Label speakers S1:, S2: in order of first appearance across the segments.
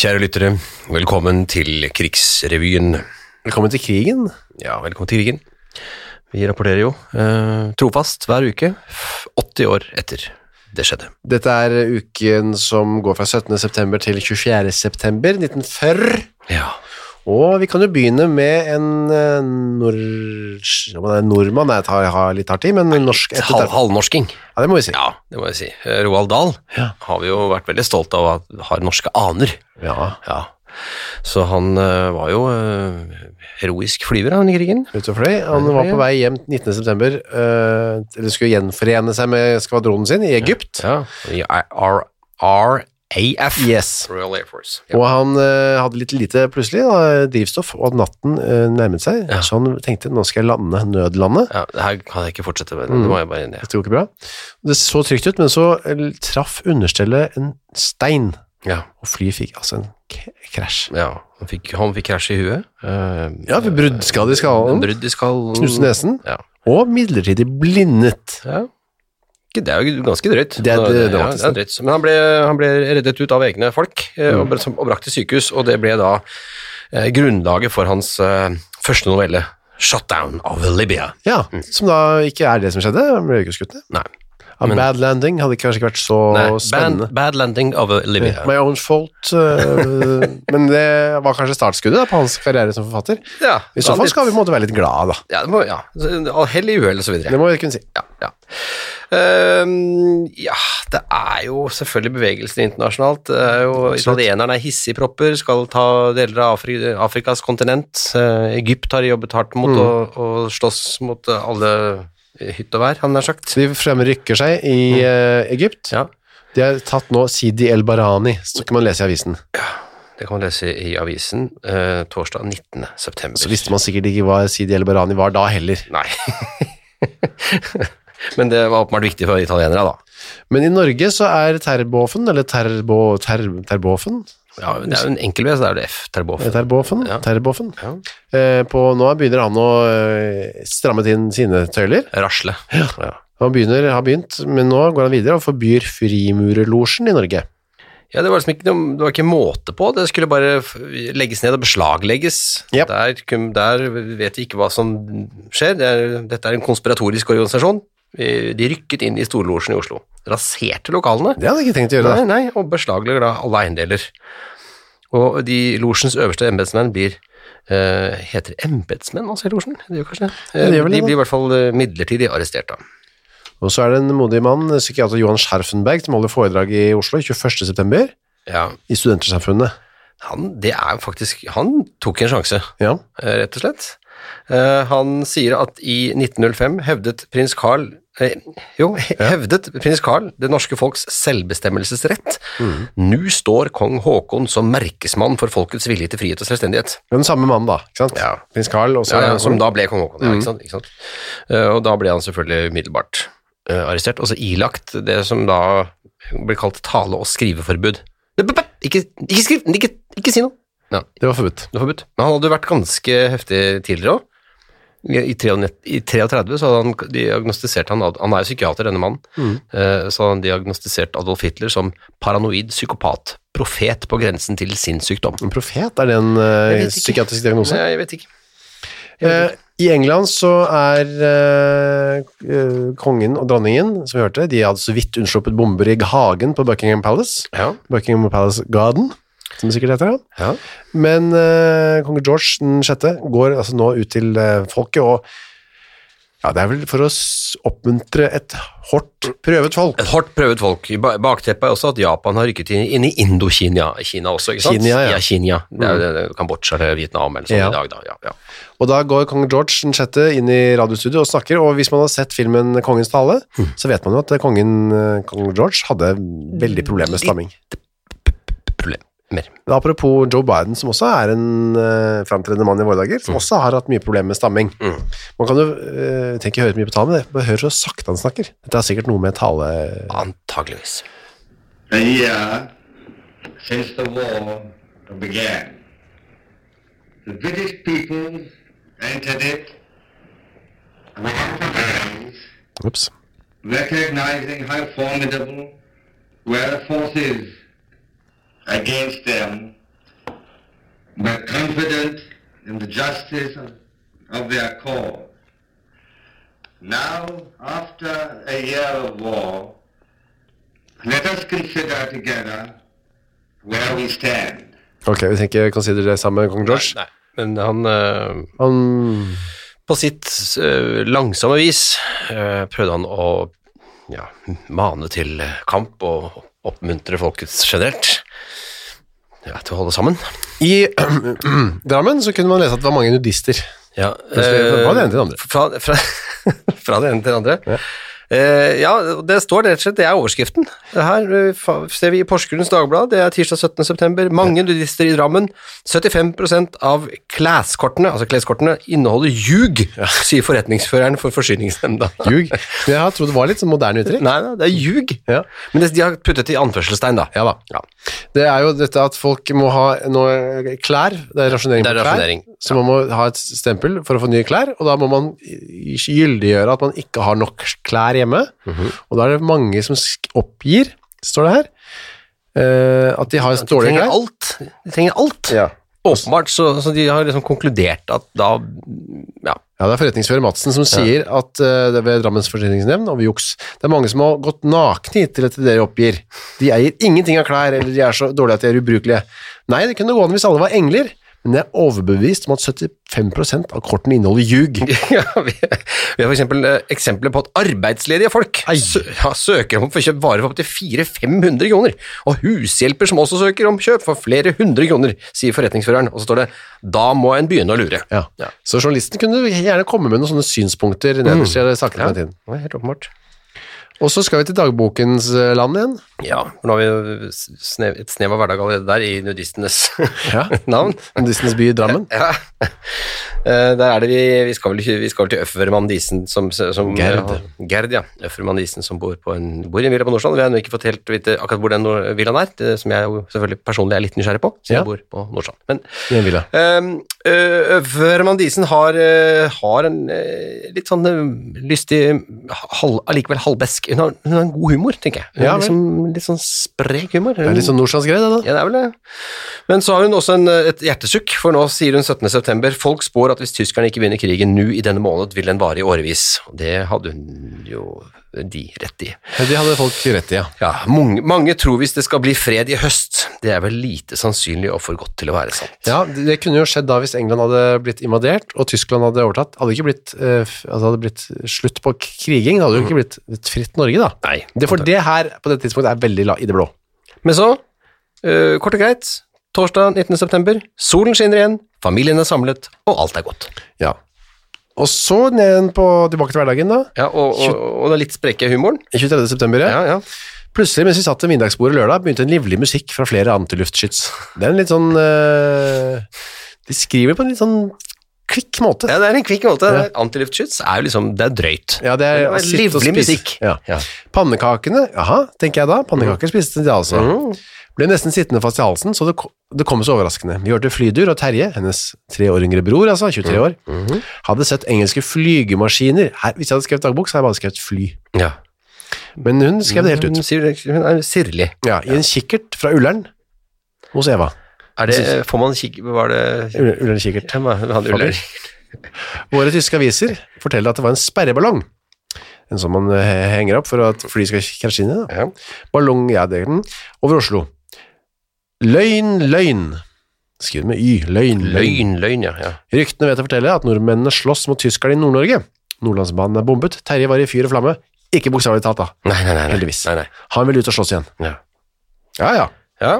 S1: Kjære lyttere, velkommen til Krigsrevyen.
S2: Velkommen til krigen.
S1: Ja, velkommen til krigen. Vi rapporterer jo eh, trofast hver uke, f- 80 år etter det skjedde.
S2: Dette er uken som går fra 17. september til 24. september 1940.
S1: Ja,
S2: Og vi kan jo begynne med en eh, nor... Om han er nordmann, det tar har litt hard tid, men norsk etter
S1: Hal halvnorsking.
S2: Ja, det må vi si.
S1: Ja, det må jeg si. Eh, Roald Dahl
S2: Ja.
S1: har vi jo vært veldig stolt av at har norske aner.
S2: Ja,
S1: Ja. Så han eh, var jo eh, heroisk flyver han, i krigen.
S2: vet du fløy. Han var på vei hjem 19. september, eh, eller skulle gjenforene seg med skvadronen sin i Egypt.
S1: Ja, i R- RAF.
S2: Yes.
S1: Royal Air Force.
S2: Og han eh, hadde litt lite plutselig da, drivstoff, og at natten eh, nærmet seg,
S1: Ja.
S2: så han tenkte nå skal jeg lande nødlandet.
S1: Ja, det her kan jeg ikke fortsette med. Det må jeg bare ned.
S2: Dette går ikke bra. Det så trygt ut, men så eh, traff understellet en stein,
S1: Ja.
S2: og flyet fikk altså en k- krasj.
S1: Ja, han fikk, han fikk krasj i huet. eh,
S2: Ja, ved bruddskade i skallen,
S1: en Brudd i skallen.
S2: knuste nesen,
S1: Ja.
S2: og midlertidig blindet.
S1: ja. Ikke- Det er jo ganske drøyt.
S2: Det er- det- det er
S1: ja,
S2: faktisk
S1: det er drøyt. Men han ble, han ble reddet ut av egne folk eh,
S2: Mm.
S1: og, ble- som- og brakt til sykehus, og det ble da eh, grunnlaget for hans eh, første novelle, 'Shutdown of Libya'.
S2: Ja, som da ikke er det som skjedde, han ble jo ikke skutt ned.
S1: Nei,
S2: A bad landing hadde kanskje ikke vært så
S1: Nei bad,
S2: spennende.
S1: bad Landing of Libya.
S2: My own fault, eh, men det var kanskje startskuddet da, på hans karriere som forfatter.
S1: Ja,
S2: I så fall skal vi på en måte være litt glad da.
S1: Ja, det må, ja. Så- hell i uhell og så videre.
S2: Det må vi kunne si.
S1: ja, ja. Ehm, ja, det er jo selvfølgelig bevegelser internasjonalt. Det er jo, italienerne er hissigpropper, skal ta deler av Afri Afrikas kontinent. Eh, Egypt har jobbet hardt mot å, å slåss mot eh, alle i hytt og vær, han har sagt.
S2: De fremrykker seg i eh, Egypt.
S1: Ja,
S2: De har tatt nå Sidi El Barani, så kan man lese i avisen.
S1: det kan man lese i avisen eh, torsdag 19. september.
S2: Så visste man sikkert ikke hva Sidi El Barani var da heller.
S1: Nei. Men det var åpenbart viktig for italienere, da.
S2: Men i Norge så er Terboven, eller Terbo, ter, Terboven,
S1: Ja, det er jo en enkel V, så det er det F. Terboven.
S2: Terboven,
S1: Ja.
S2: Terboven.
S1: Ja.
S2: Eh, på, nå begynner han å eh, stramme inn sine tøyler.
S1: Rasle. Ja.
S2: Han begynner, har begynt, men nå går han videre og forbyr frimurerlosjen i Norge.
S1: Ja, det var liksom ikke, noe, det var ikke måte på. Det skulle bare f- legges ned og beslaglegges.
S2: Japp.
S1: Der, kun- der vet vi ikke hva som skjer. Det er, dette er en konspiratorisk organisasjon. Eh, De rykket inn i storlosjen i Oslo. Raserte lokalene.
S2: Det hadde jeg ikke tenkt å gjøre.
S1: Nei, nei, og beslaglegger da alle eiendeler. Og de losjens øverste embetsmenn blir eh, Heter det embetsmenn altså i losjen? Det gjør kanskje det. Eh,
S2: det gjør vel
S1: de
S2: det, da.
S1: blir i hvert fall eh, midlertidig arrestert, da.
S2: Og så er det en modig mann, psykiater Johan Scharfenberg, som holder foredrag i Oslo 21. september
S1: Ja,
S2: i Studentersamfunnet.
S1: han, det er jo faktisk Han tok en sjanse.
S2: Ja.
S1: eh, rett og slett. Eh, Han sier at i 1905 hevdet prins Carl eh, jo, hevdet prins Carl det norske folks selvbestemmelsesrett. Nå står kong Haakon som merkesmann for folkets vilje til frihet og selvstendighet.
S2: Men den samme mannen da, ikke sant?
S1: Ja.
S2: Prins Karl også.
S1: Ja, mm. ja, som da ble kong Haakon, ja, ikke sant? Ikke sant? Eh, Og da ble han selvfølgelig umiddelbart eh, arrestert, og så ilagt det som da ble kalt tale- og skriveforbud. Ikke, ikke skriv, ikke, ikke si noe! Ja.
S2: Det var forbudt.
S1: Det er forbudt. Men han hadde jo vært ganske heftig tidligere òg. I 93 i 33 så hadde han diagnostisert han, Han er jo psykiater, denne mannen. Eh, Så hadde han diagnostisert Adolf Hitler som paranoid psykopat. Profet på grensen til sinnssykdom.
S2: En profet, er det en eh,
S1: Jeg vet ikke.
S2: psykiatrisk diagnose?
S1: Nei, Jeg vet ikke.
S2: Eh, I England så er eh, eh, kongen og dronningen, som vi hørte, de hadde så vidt unnsluppet bomber i hagen på Buckingham Palace.
S1: Ja.
S2: Buckingham Palace Garden, som det sikkert heter. Ja.
S1: ja.
S2: Men eh, kong George den sjette går altså nå ut til eh, folket og ja, det er vel for å s- oppmuntre et hardt prøvet folk.
S1: Et hardt prøvet folk. I ba- Bakteppet er også at Japan har rykket inn, inn i Indokina Kina også, ikke sant?
S2: Kina, ja.
S1: Kina. Det er jo det- det- Kambodsja eller Vietnam eller sånn
S2: Ja.
S1: i dag, da. Ja, ja.
S2: Og da går kong George den sjette inn i radiostudio og snakker, og hvis man har sett filmen Kongens tale, så vet eh, Mm. man jo at kongen, eh, kong George hadde veldig problemer med stamming.
S1: Problem. Mer.
S2: Men apropos Joe Biden, som også er en uh, framtredende mann i våre dager, som også har hatt mye problemer med stamming. Man kan jo eh, tenke å høre mye på talen, men det- bare hør så sakte han snakker. Dette har sikkert noe med tale...
S1: Antageligvis.
S3: a year since the war began. The British people entered it without delays,
S2: Ups.
S3: recognizing how formidable were the forces against them, but confident in the justice of, of their cause. Now, after a year of war, let us consider together where we stand.
S2: Ok, vi tenker consider det sammen med kong George. Um,
S1: Nei, men han eh,
S2: Han,
S1: På sitt eh, langsomme vis eh, prøvde han å ja, mane til kamp og oppmuntre folket generelt ja, til å holde sammen.
S2: I Drammen så kunne man lese at det var mange nudister.
S1: Ja, eh,
S2: Plutselig, fra det ene til det andre.
S1: Fra, fra, fra det ene til det andre. Ja. ja, det står rett og slett, det er overskriften. Det her eh, fa- ser vi i Porsgrunns Dagblad, det er tirsdag 17. september. Mange nudister i Drammen. 75 av kleskortene, altså kleskortene, inneholder ljug, sier forretningsføreren for Forsyningsnemnda.
S2: Ljug. Men jeg har trodd det var litt sånn moderne uttrykk.
S1: Nei, nei, det er ljug.
S2: Ja.
S1: Men det, de har puttet i anførselstegn, da.
S2: Ja da. Det er jo dette at folk må ha noe klær, det er rasjonering
S1: Det er
S2: på klær,
S1: rasjonering,
S2: så man må ha et stempel for å få nye klær, og da må man i- gyldiggjøre at man ikke har nok klær hjemme,
S1: Mhm.
S2: og da er det mange som sk- oppgir, står det her, eh, at de har
S1: De
S2: dårlige
S1: trenger
S2: klær.
S1: alt. De trenger alt.
S2: Ja.
S1: Åpenbart, så, så de har liksom konkludert at da Ja.
S2: Ja, det er forretningsfører Madsen som sier at eh, det er ved Drammens forsyningsnevn over juks. Det er mange som har gått nakne hit til dette dere oppgir. De eier ingenting av klær, eller de er så dårlige at de er ubrukelige. Nei, det kunne gå an hvis alle var engler, men jeg er overbevist om at 75 av kortene inneholder ljug.
S1: ja vi, vi har for eksempel eh, eksempler på at arbeidsledige folk sø, ja, søker om å få kjøpt varer for opptil 400-500 kroner, og hushjelper som også søker om kjøp for flere hundre kroner, sier forretningsføreren, og så står det 'da må en begynne å lure'.
S2: Ja. Så journalisten kunne gjerne komme med noen sånne synspunkter nederst i sakene
S1: Ja,
S2: hele tiden.
S1: det er helt åpenbart.
S2: Og så skal vi til dagbokens eh, land igjen.
S1: Ja, for nå har vi jo snev, et snev av hverdag allerede der i nudistenes
S2: Ja.
S1: navn.
S2: Disneys by i Drammen.
S1: Ja. Eh, Der er det vi, vi skal vel, ikke- vi skal vel til Øffermann Disen som, som
S2: Gerd.
S1: ja, Gerd, ja. Øffermann Disen som bor, på en, bor i en villa på Nordstrand. Vi har ennå ikke fått helt vite akkurat hvor den nor- villaen er, det, som jeg jo selvfølgelig personlig er litt nysgjerrig på, siden
S2: Ja.
S1: jeg bor på Nordstrand. Men
S2: I en villa.
S1: Ehm, øh, Øvermann Diesen har, øh, har en øh, litt sånn øh, lystig, halv, allikevel halvbesk Hun har, hun har en god humor, tenker jeg. Hun
S2: Ja,
S1: har
S2: vel.
S1: liksom, litt sånn sprek humor.
S2: Det er litt sånn nordstrandsgreie, det da.
S1: Ja, det er vel det. Men så har hun også en, eh, et hjertesukk, for nå sier hun 17. september folk spår at hvis tyskerne ikke vinner krigen nå i denne måned, vil den vare i årevis. Og Det hadde hun jo de rett i.
S2: De hadde folk rett i, ja.
S1: Ja, mange, mange tror hvis det skal bli fred i høst. Det er vel lite sannsynlig og for godt til å være sant.
S2: Ja, det det kunne jo skjedd da hvis England hadde blitt invadert og Tyskland hadde overtatt. Hadde ikke blitt, eh, f- altså hadde blitt slutt på kriging, det hadde jo ikke blitt et fritt Norge da.
S1: Mm. Nei,
S2: Det, for det her på dette tidspunktet er veldig la, i det blå.
S1: Men så, øh, kort og greit, torsdag 19. september, solen skinner igjen, familien er samlet, og alt er godt.
S2: Ja. Og så ned på tilbake til hverdagen da,
S1: Ja, og, og, og den litt spreke humoren.
S2: 23. september.
S1: Ja, ja.
S2: Plutselig mens vi satt til middagsbordet lørdag, begynte en livlig musikk fra flere antiluftskyts. Det er en litt sånn, eh, de skriver på en litt sånn kvikk måte.
S1: ja det er en kvikk måte. Antiluftskyts er jo liksom, det er drøyt.
S2: Ja, det er,
S1: Det var
S2: å sitte og
S1: livlig
S2: spise.
S1: musikk.
S2: Ja.
S1: Ja.
S2: Pannekakene, jaha, tenker jeg da. Pannekaker spiste de altså.
S1: Mm.
S2: Ble nesten sittende fast i halsen, så det, ko- det kom så overraskende. Vi hørte Flydur og Terje, hennes tre år yngre bror, altså, 23 år, hadde sett engelske flygemaskiner. Her, hvis jeg hadde skrevet dagbok, så hadde jeg bare skrevet fly.
S1: Ja.
S2: Men Mm, hun skrev det helt
S1: Hun,
S2: ut.
S1: sier, hun er sirlig.
S2: Ja, I en kikkert fra Ullern hos Eva.
S1: Er det, får man kikke Var det
S2: Ull- Ullern kikkert.
S1: Hvem var- hadde Uller?
S2: Våre tyske aviser forteller at det var en sperreballong. En som man eh, henger opp for at fly skal krasje inn i. Da.
S1: Ja.
S2: Ballong, ja, det er den. Over Oslo. Løgn, løgn. Skriv med y. Løgn, løgn.
S1: Løgn, løgn, ja. ja.
S2: Ryktene vet å fortelle at nordmennene slåss mot tyskerne i Nord-Norge. Nordlandsbanen er bombet. Terje var i fyr og flamme. Ikke bokstavelig talt, da.
S1: Nei, nei, nei. nei.
S2: Heldigvis.
S1: Nei, nei.
S2: Han vil ut og slåss igjen.
S1: Ja.
S2: Ja, ja.
S1: ja.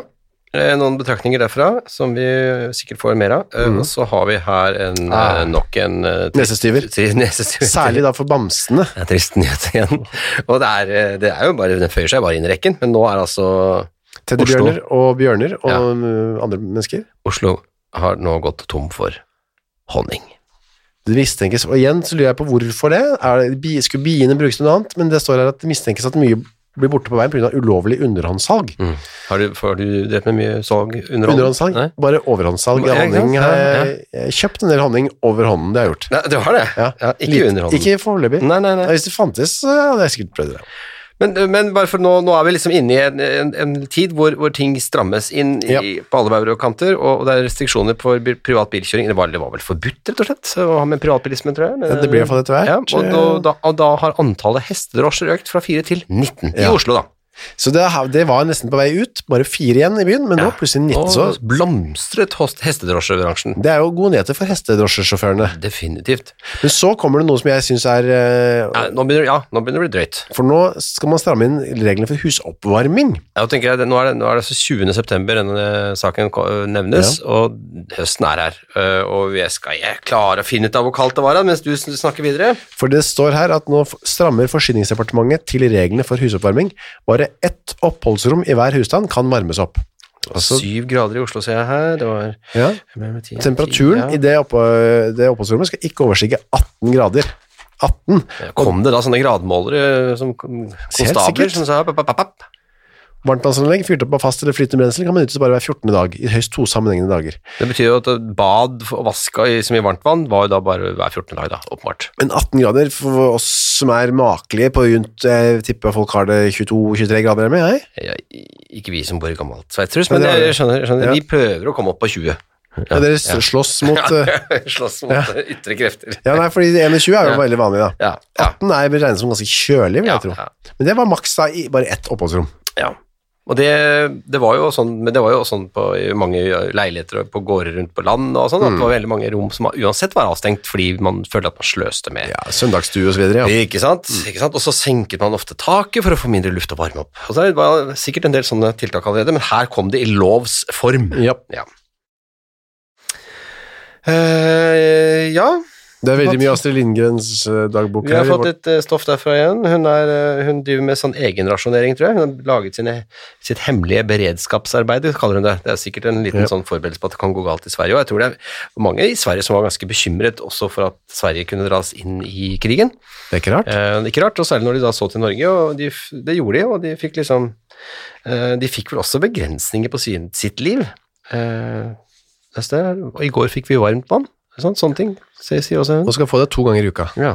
S1: eh, Noen betraktninger derfra som vi sikkert får mer av. Eh, Og så har vi her en,
S2: Ah.
S1: eh, nok en eh, trist-
S2: Nesestyver.
S1: trist- Nesestyver.
S2: Særlig da for bamsene.
S1: Det er eh, trist nyhet igjen. Og det er, det er jo bare, den føyer seg bare inn i rekken, men nå er altså
S2: Teddybjørner og bjørner og
S1: Ja.
S2: øh, andre mennesker.
S1: Oslo har nå gått tom for honning.
S2: Det mistenkes, og igjen så lurer jeg på hvorfor det. Er det bi- skulle biene brukes til noe annet? Men det står her at det mistenkes at mye blir borte på veien pga. ulovlig underhåndssalg.
S1: Har du, har du drevet med mye salg under
S2: Underhåndssalg,
S1: Nei?
S2: bare overhåndssalg
S1: Ja,
S2: av
S1: ikke sant?
S2: honning. har
S1: Ja,
S2: Jeg jeg har kjøpt en del honning over hånden, det har jeg gjort.
S1: Nei, du har det?
S2: Ja.
S1: ikke
S2: Litt-
S1: under hånden.
S2: Ikke foreløpig.
S1: Nei, nei, nei.
S2: Hvis det fantes, så hadde jeg sikkert prøvd det.
S1: Men, men bare for nå, nå er vi liksom inne i en, en, en tid hvor, hvor ting strammes inn i,
S2: Ja.
S1: på alle bauger og kanter, og, og det er restriksjoner for bi- privat bilkjøring. Det var, det var vel forbudt, rett og slett, å ha med privatbilisme, tror jeg. Men,
S2: Ja, det blir i hvert fall etter hvert.
S1: Ja, og, da, da, og da har antallet hestedrosjer økt fra 4 til 19 i
S2: Ja.
S1: Oslo, da.
S2: Så det, har- det var nesten på vei ut, bare fire igjen i byen, men nå plutselig 19.
S1: Og
S2: Så
S1: blomstret host- hestedrosjebransjen.
S2: det er jo gode nyheter for hestedrosjesjåførene.
S1: Definitivt.
S2: Men så kommer det noe som jeg syns er eh,
S1: Nei, nå begynner, ja, nå begynner det å bli drøyt.
S2: For nå skal man stramme inn reglene for husoppvarming.
S1: Ja, og tenker jeg, det- Nå er det, nå er det altså 20. september denne saken ko- nevnes, og høsten er her. Eh, Og jeg skal jeg klare å finne ut av hvor kaldt det var, da, mens du sn- snakker videre?
S2: For det står her at nå f- strammer Forsyningsdepartementet til reglene for husoppvarming. Bare ett oppholdsrom i hver husstand kan varmes opp. Altså-
S1: Syv grader i Oslo, ser jeg her. Det var
S2: Ja. Temperaturen i
S1: i
S2: det, oppå, det oppholdsrommet skal ikke overstige 18 grader. 18.
S1: Kom det da sånne gradmålere eh, som kon-
S2: Helt
S1: konstabler
S2: sikkert.
S1: som sa papp, papp, papp, papp?
S2: Varmtvannsanlegg fyrt opp av fast eller flytende brensel kan benyttes bare hver 14. dag, i høyst to sammenhengende dager.
S1: Det betyr jo at eh, bad og vaska i, som i varmt vann var jo da bare hver 14. dag, da, åpenbart.
S2: Men 18 grader for oss som er makelige på rundt eh, Jeg tipper folk har det 22-23 grader hjemme, jeg.
S1: Ja, i- ikke vi som bor i gammelt Sveitserhus, men
S2: Men det er
S1: jeg
S2: det.
S1: skjønner, skjønner.
S2: Ja.
S1: vi prøver å komme opp på 20. Ja,
S2: Og dere slåss mot eh,
S1: Slåss mot eh, ytre krefter.
S2: Ja, nei, fordi 21 er jo veldig vanlig, da.
S1: Ja, ja.
S2: 18 er regnet som ganske kjølig, vil
S1: Ja,
S2: jeg tro.
S1: ja.
S2: Men det var maks da i bare ett oppholdsrom.
S1: Ja. Og det, det var jo sånn, men det var jo sånn på i mange leiligheter og på gårder rundt på land og sånn, at det var veldig mange rom som uansett var avstengt fordi man følte at man sløste med
S2: Ja, Søndagsstue og så videre, ja.
S1: Ikke sant? ikke sant? Og så senket man ofte taket for å få mindre luft å varme opp. Og så er det bare sikkert en del sånne tiltak allerede, men her kom det i lovs form.
S2: Ja,
S1: Ja. Eh, ja,
S2: Det er veldig mye Astrid Lindgrens eh, dagbok
S1: vi har
S2: her. i
S1: fått
S2: vårt-
S1: litt eh, stoff derfra igjen. Hun, er, eh, hun driver med sånn egenrasjonering, tror jeg. Hun har laget sine, sitt hemmelige beredskapsarbeid, kaller hun det. Det er sikkert en liten
S2: Ja.
S1: sånn forberedelse på at det kan gå galt i Sverige. Og jeg tror det er mange i Sverige som var ganske bekymret også for at Sverige kunne dras inn i krigen.
S2: Det er ikke rart.
S1: Eh, ikke rart, og særlig når de da så til Norge, og de, f- det gjorde de, og de fikk liksom eh, De fikk vel også begrensninger på sin, sitt liv. Eh, neste er- og i går fikk vi varmt vann. Sånn, sånne ting, sier sier også hun.
S2: Nå skal jeg få det to ganger i uka.
S1: Ja.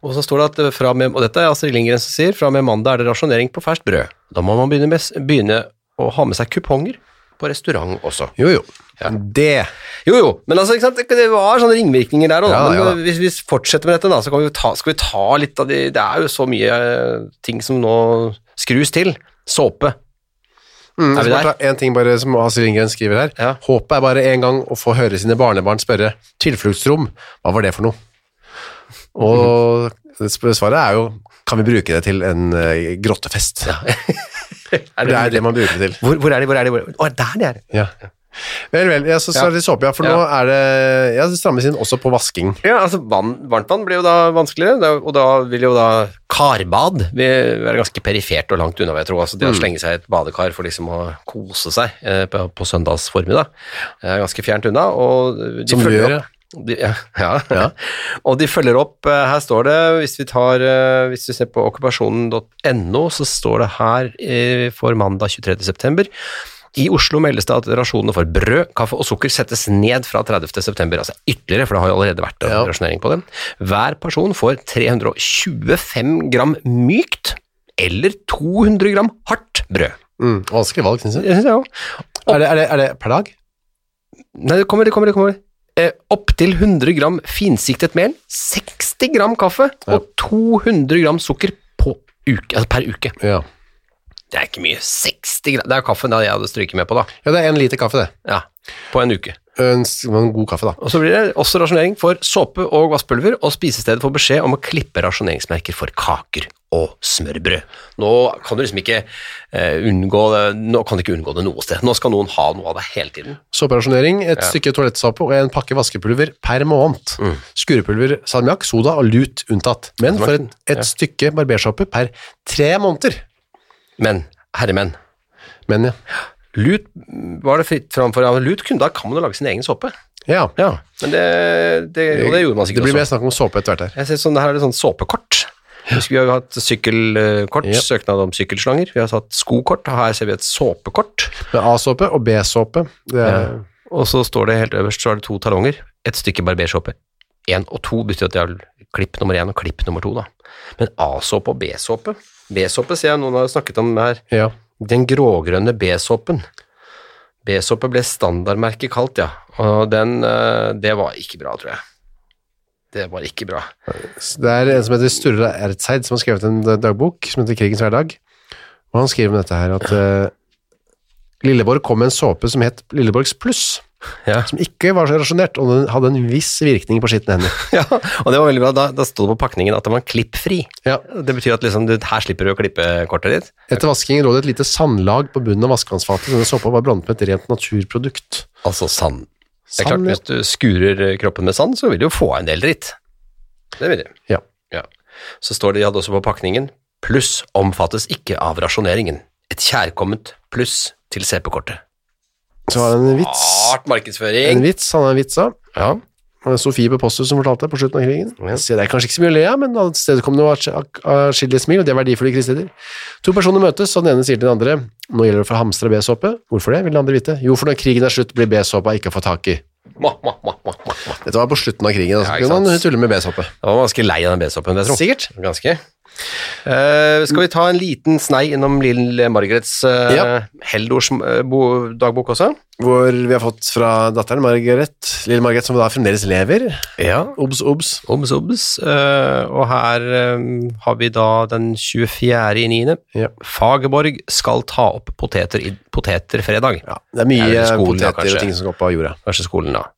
S1: Og så står det at eh, fra og med, og dette er Astrid Lindgren som sier, fra og med mandag er det rasjonering på ferskt brød. Da må man begynne, med, s- begynne å ha med seg kuponger på restaurant også.
S2: Jo, jo. Det
S1: Jo, jo, men altså, ikke sant? det- det var sånne ringvirkninger der, og,
S2: Ja,
S1: men
S2: ja da.
S1: eh, hvis vi fortsetter med dette da, så kan vi jo ta, skal vi ta litt av de, det er jo så mye eh, ting som nå skrus til. Såpe.
S2: Mm,
S1: Er vi
S2: jeg skal
S1: der?
S2: bare ta en ting bare som Astrid Lindgren skriver her.
S1: Ja.
S2: Håpet er bare en gang å få høre sine barnebarn spørre tilfluktsrom, hva var det for noe? Og sp- svaret er jo, kan vi bruke det til en eh, grottefest? For det er det man bruker det til.
S1: Hvor, hvor er de, hvor er de? Hvor, å, der de er.
S2: Ja. Vel, vel, ja, så, så
S1: Ja.
S2: er det såpe, ja, for
S1: Ja.
S2: nå er det, ja, det strammes inn også på vasking.
S1: Ja, altså vann, varmt vann blir jo da vanskeligere, da- og da vil jo da karbad vil være ganske perifert og langt unna, vil jeg tro. Altså det å
S2: Mm.
S1: slenge seg i et badekar for liksom å kose seg eh, på, på søndags formiddag er ganske fjernt unna. Og de
S2: Som du
S1: følger
S2: gjør,
S1: opp- De, ja, ja. og de følger opp, eh, her står det, hvis vi, tar, eh, hvis vi ser på okkupasjonen.no, så står det her eh, for mandag 23. september, i Oslo meldes det at rasjonene for brød, kaffe og sukker settes ned fra 30. september, altså ytterligere, for det har jo allerede vært en
S2: Ja.
S1: rasjonering på det. Hver person får 325 gram mykt, eller 200 gram hardt brød.
S2: Mm, vanskelig valg, synes jeg.
S1: Det synes jeg også.
S2: Er det, er det, er det per dag?
S1: Nei, det kommer, det kommer, det kommer. Eh, Opptil 100 gram finsiktet mel, 60 gram kaffe og 200 gram sukker på uke, altså per uke.
S2: Ja.
S1: Det er ikke mye. 60 gram, Det er kaffen da jeg hadde stryket med på, da.
S2: Ja, det er en liter kaffe det.
S1: Ja, På en uke.
S2: En, s- en god kaffe da.
S1: Og så blir det også rasjonering for såpe og vasspulver, og spisestedet får beskjed om å klippe rasjoneringsmerker for kaker og smørbrød. Nå kan du liksom ikke eh, unngå det, nå kan du ikke unngå det noe sted. Nå skal noen ha noe av det hele tiden.
S2: Såperasjonering, et stykke toalettsåpe og en pakke vaskepulver per måned.
S1: Mm.
S2: Skurepulver, salmiakk, soda og lut unntatt. Men for et, et stykke barbersåpe per tre måneder.
S1: Men, herremenn,
S2: Men ja.
S1: Lut var det fritt framfor ja, Lut kunne, da kan man jo lage sin egen såpe.
S2: ja.
S1: Ja, men det, det, og det gjorde man
S2: Det
S1: sikkert
S2: blir
S1: også.
S2: mer snakk om såpe etter hvert her.
S1: Jeg ser sånn, her er det sånn såpekort. Husker Vi har jo hatt sykkelkort,
S2: Ja.
S1: søknad om sykkelslanger. Vi har hatt skokort, og her ser vi et såpekort.
S2: Med A-såpe og B-såpe. Det er
S1: Og så står det helt øverst, så er det to talonger, et stykke barbersåpe. Én og to betyr at de har klipp nummer én og klipp nummer to, da. Men A-såpe og B-såpe B-såpe ser jeg noen har snakket om her.
S2: ja.
S1: Den grågrønne B-såpen. B-såpe ble standardmerket kalt, ja. Og den eh, Det var ikke bra, tror jeg. Det var ikke bra.
S2: Det er en som heter Sturla Ertseid som har skrevet en dagbok som heter Krigens hverdag. Og han skriver om dette her at eh, Lilleborg kom med en såpe som het Lilleborgs pluss,
S1: Ja.
S2: som ikke var så rasjonert, og den hadde en viss virkning på skitne hender.
S1: Ja, og det var veldig bra. Da, da stod det på pakningen at den var klippfri.
S2: Ja.
S1: Det betyr at liksom, du, her slipper du å klippe kortet ditt.
S2: Etter vaskingen lå det et lite sandlag på bunnen av vaskevannsfatet, så denne såpa var blandet med et rent naturprodukt.
S1: Altså sand. Det er
S2: Sand,
S1: klart, Hvis du skurer eh, kroppen med sand, så vil du jo få en del dritt. Det vil du.
S2: Ja.
S1: Ja. Så står det, de hadde også på pakningen, pluss omfattes ikke av rasjoneringen. Et kjærkomment pluss til CP-kortet.
S2: Så var det en vits.
S1: Art
S2: En
S1: markedsføring.
S2: vits, han er en vits av.
S1: Ja.
S2: Det var Sofie Bepostus som fortalte det på slutten av krigen. Så det er kanskje ikke så mye å le av, men av stedet kom det noe atsk- ak- atskillige smil, og det er verdifulle kristider. To personer møtes, og den ene sier til den andre Nå gjelder det for å hamstre B-såpe. Hvorfor det, vil den andre vite. Jo, for når krigen er slutt, blir B-såpa ikke å få tak i.
S1: Ma, ma, ma, ma, ma, ma.
S2: Dette var på slutten av krigen, altså.
S1: Ja,
S2: Ja,
S1: ikke sant.
S2: man tuller med B-såpe.
S1: Da var man ganske lei av den B-soppen, det tror jeg.
S2: Sikkert.
S1: Ganske. Eh, skal vi ta en liten snei innom lille Margarets uh,
S2: Ja.
S1: Heldors eh, bo- dagbok også?
S2: Hvor vi har fått fra datteren Margaret, lille Margaret, som da fremdeles lever.
S1: Ja.
S2: Obs, obs.
S1: Obs, obs. Eh, og her eh, har vi da den 24. i 9.
S2: Ja.
S1: Fagerborg skal ta opp poteter i poteterfredag.
S2: Ja, det er mye
S1: Det er vel skolen, da,
S2: poteter
S1: kanskje.
S2: og ting som går opp av jorda.
S1: Kanskje skolen, da.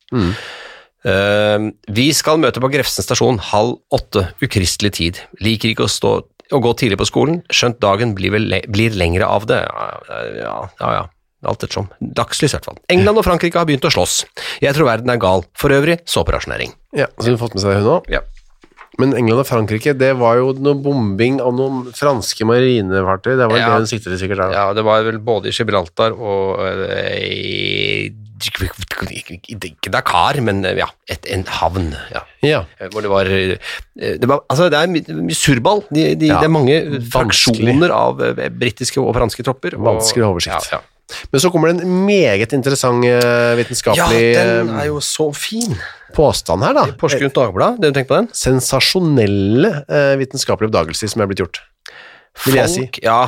S1: Eh, vi skal møte på Grefsen stasjon halv åtte, ukristelig tid. Liker ikke å, stå, å gå tidlig på skolen, skjønt dagen blir, vel le blir lengre av det. Ja, ja, ja. ja. Alt ettersom. Dagslys, i hvert fall. England og Frankrike har begynt å slåss. Jeg tror verden er gal. For øvrig, såperasjonering.
S2: Ja, så hun har fått med seg hun òg.
S1: Ja.
S2: Men England og Frankrike, det var jo noe bombing av noen franske marinefartøy. Det var
S1: Ja.
S2: det hun siktet til sikkert der. da.
S1: ja, det var vel både i Gibraltar og eh, Ikke Dakar, men eh, ja, et, en havn. Ja.
S2: Ja.
S1: Eh, Hvor det var, eh, det var Altså, det er mye mye surrball. De, de,
S2: Ja,
S1: det er mange
S2: vanskelig.
S1: fraksjoner av eh, britiske og franske tropper. og-
S2: Vanskelig oversikt.
S1: Ja, ja.
S2: Men så kommer det en meget interessant eh,
S1: ja,
S2: vitenskapelig
S1: den
S2: eh,
S1: er jo så fin!
S2: påstand her, da. Eh,
S1: Porsgrunn Dagblad, det du tenker på den?
S2: Sensasjonelle eh, vitenskapelige oppdagelser som er blitt gjort. Vil jeg si.
S1: Folk, ja.